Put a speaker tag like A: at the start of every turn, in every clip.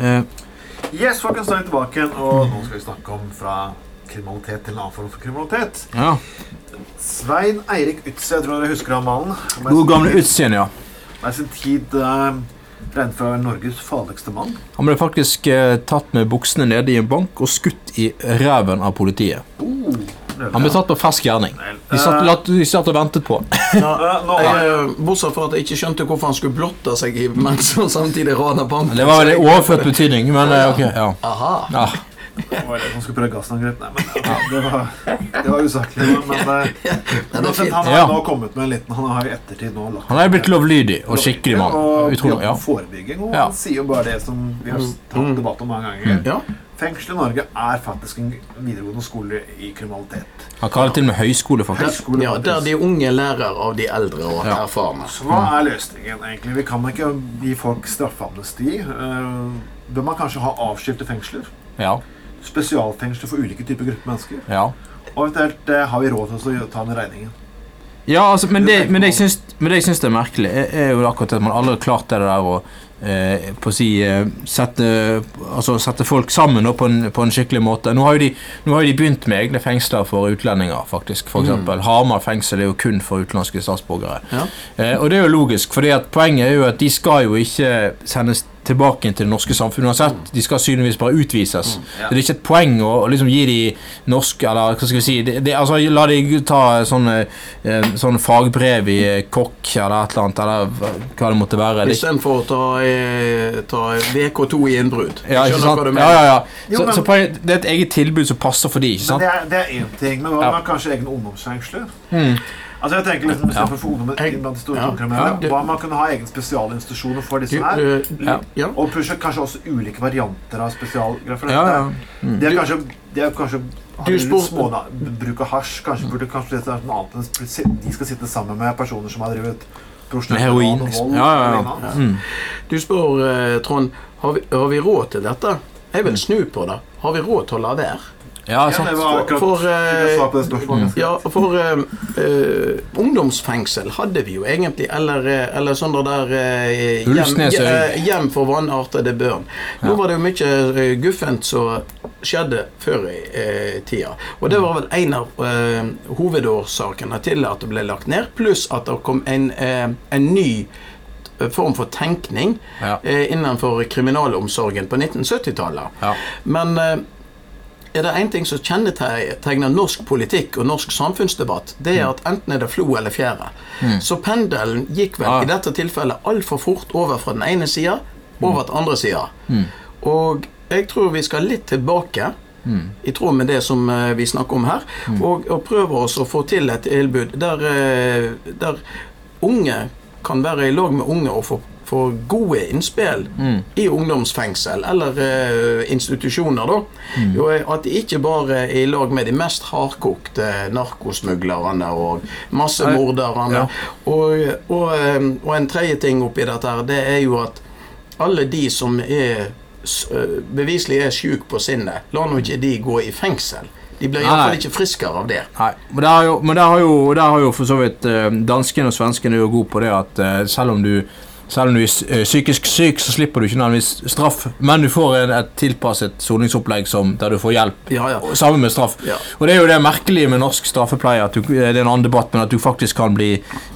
A: Eh,
B: Yes, folkens, da er vi tilbake igjen, og nå skal vi snakke om fra kriminalitet til en annen form for kriminalitet.
A: ja.
B: Svein Eirik Utse, jeg tror dere husker han mannen. Han ble
A: God
B: sin-
A: gamle utseende, ja.
B: ble sin tid eh, regnet for å være Norges farligste mann.
A: Han ble faktisk eh, tatt med buksene nede i en bank og skutt i ræven av politiet.
B: Oh,
A: Han ble tatt på fersk gjerning. De satt,
B: Eh,
A: latt- de satt og ventet på. han.
B: eh, nå
C: Jeg,
B: er
C: eh, bortsett fra at jeg ikke skjønte hvorfor han skulle blotte seg i- mens han samtidig rana banken.
A: Det var vel i overført betydning, men eh, ok, ja.
C: Aha.
A: ja.
B: det var det som skulle prøve gassangrep. Nei, men eh, det var, det var usaklig. Men eh,
C: Ja, det er fint.
B: han har
A: Ja.
B: nå kommet med en liten Han har i ettertid nå lagt
A: Han er blitt lovlydig og skikkelig mann.
B: Og
A: Utrolig, ja.
B: forebygging. Og
A: Ja. Mm.
B: han sier jo bare det som vi har tatt debatt om mange ganger.
C: Ja.
B: Fengsel i Norge er faktisk en videregående skole i kriminalitet.
A: Han kaller til og med høyskole, faktisk.
B: Høyskole,
C: ja, der de
B: faktisk.
C: unge lærer av de eldre og
A: Ja.
C: erfarne.
B: Så hva er løsningen, egentlig? Vi kan ikke gi folk straffeamnesti. Eh, Bør man kanskje ha avskilte fengsler?
A: Ja,
B: Spesialfengsler for ulike typer grupper mennesker?
A: ja.
B: Og eventuelt eh, har vi råd til å ta den regningen.
A: Ja, altså, men det, men det, jeg, syns, men det jeg syns det er merkelig, er, er jo akkurat at man aldri har klart det der å eh, på å si, eh, sette, altså, sette folk sammen da, på, en, på en skikkelig måte. Nå har, jo de, nå har jo de begynt med egne fengsler for utlendinger, faktisk. For eksempel Hamar fengsel er jo kun for utenlandske statsborgere.
C: Ja.
A: Eh, og det er jo logisk, for poenget er jo at de skal jo ikke sendes tilbake til det norske samfunnet uansett. De skal synligvis bare utvises.
C: Mm,
A: Så det er ikke et poeng å, å liksom gi de norsk Eller hva skal vi si det, det, altså, La de ta sånne, eh, sånne fagbrev i eh, kokk eller et eller annet, eller hva- hva det måtte være. Det, er ikke-
C: Istedenfor å ta, eh, ta VK2 i innbrudd.
A: ja, ikke
C: Skjønner hva
A: sant?
C: du
A: Ja,
C: mener?
A: ja, ja.
B: Jo,
A: Så,
B: men-
A: så poenget, det er et eget tilbud som passer for de,
B: Men
A: ikke sant?
B: det er- det er én ting. Men hva
A: Ja.
B: med kanskje egne ungdomsfengsler? Altså jeg tenker liksom,
A: Ja.
B: Istedenfor for ungdommen
C: Jeg-
B: blant de store
C: Hmm. ja.
B: kriminelle,
C: Ja, det-
B: hva om man kunne ha egne spesialinstitusjoner for disse her?
C: Du, eh, du,
A: Ja.
C: ja.
B: Og pushe kanskje også ulike varianter av spesialgrafer.
A: Ja, ja. Mm.
B: Det er kanskje, det er kanskje
C: Du spurte-
B: småna, bruk av hasj. Kanskje burde kanskje det er noe annet enn å si- de skal sitte sammen med personer som har drevet
A: Med heroin,
B: og
A: liksom.
B: vold
A: Ja, ja,
B: og
A: ja.
B: lignende.
A: Mm.
C: du spør, eh, Trond, har vi, har vi råd til dette? Jeg vil snu på det. Har vi råd til å la være?
A: Ja,
B: Ja, det
A: sant?
B: var akkurat
C: For, eh,
B: jeg svar på det spørsmålet.
C: Ja, for eh, eh, ungdomsfengsel hadde vi jo egentlig, eller, eh, eller sånne der eh, hjem,
A: Ulvsnesøy.
C: je- eh, hjem for vanartede børn. Nå var det jo mye eh, guffent som skjedde før i eh, tida. Og det var vel en av eh, hovedårsakene til at det ble lagt ned, pluss at det kom en, eh, en ny eh, form for tenkning
A: Ja.
C: eh, innenfor kriminalomsorgen på 1970-tallet.
A: Ja.
C: Men eh, er det én ting som kjennetegner norsk politikk og norsk samfunnsdebatt, det er at enten er det flo eller fjære. Så pendelen gikk vel
A: Ja.
C: i dette tilfellet altfor fort over fra den ene sida over til den andre sida. Og jeg tror vi skal litt tilbake. I tråd med det som eh, vi snakker om her. Og, og prøver oss å få til et tilbud der, eh, der unge kan være i lag med unge og få, få gode innspill i ungdomsfengsel eller eh, institusjoner, da. Jo, at de ikke bare er i lag med de mest hardkokte narkosmuglerne og
A: Ja.
C: massemorderne. Og, og, eh, og en tredje ting oppi dette her, det er jo at alle de som er s- eh, beviselig er syke på sinnet, la nå ikke de gå i fengsel. De blir
A: Nei, nei.
C: iallfall ikke friskere av det.
A: Nei, men der, har jo, men der, har jo, der har jo for så vidt eh, danskene og svenskene er jo gode på det at eh, selv om du selv om du er s- eh, psykisk syk, så slipper du ikke nødvendigvis straff, men du får en, et tilpasset soningsopplegg som, der du får hjelp
C: Ja, ja.
A: og sammen med straff.
C: Ja.
A: Og Det er jo det merkelige med norsk straffepleie, at du, eh, det er en annen debatt, men at du faktisk kan bli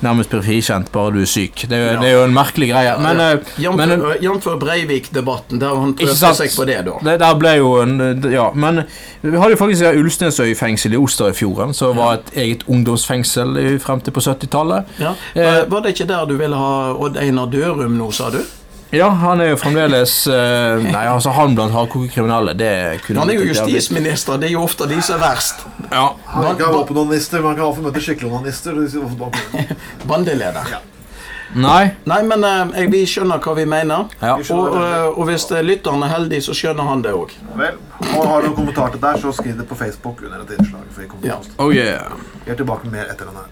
A: nærmest blir frikjent bare du er syk. Det er, jo-
C: Ja.
A: det er jo en merkelig greie. Men, eh, men
C: Jamfør jamfør Breivik-debatten, der han
A: Ikke
C: prøvde
A: sant?
C: seg på det, da.
A: Det der ble jo en, ja, men Vi hadde jo faktisk det Ulstensøy fengsel i Osterøyfjorden, som var et eget ungdomsfengsel i- frem til på 70-tallet.
C: Ja.
A: Eh,
C: Var- Var det ikke der du ville ha Odd Einar Dørum nå, sa du?
A: Ja, han er jo fremdeles eh, Nei, altså han blant hardkoke kriminelle, det kunne
C: Han er jo
A: blitt et jævlig-
C: justisminister, det er jo ofte de som er verst.
A: Ja.
B: Man kan ikke ha
C: Ban-
B: våpenonister, man kan iallfall møte skikkelige onanister. de sier hvorfor bare-
C: Bandeleder.
A: Nei.
C: Nei, men eh, jeg- vi skjønner hva vi mener.
A: Ja.
B: Vi skjønner
C: Og,
B: det.
C: eh, og hvis eh, lytteren er heldig, så skjønner han det òg.
B: Vel, og Har du noen kommentar til det der, så skriv det på Facebook under et innslag. For vi, kommer til
C: Ja.
B: å poste.
A: Oh yeah.
B: vi er tilbake med mer etter denne.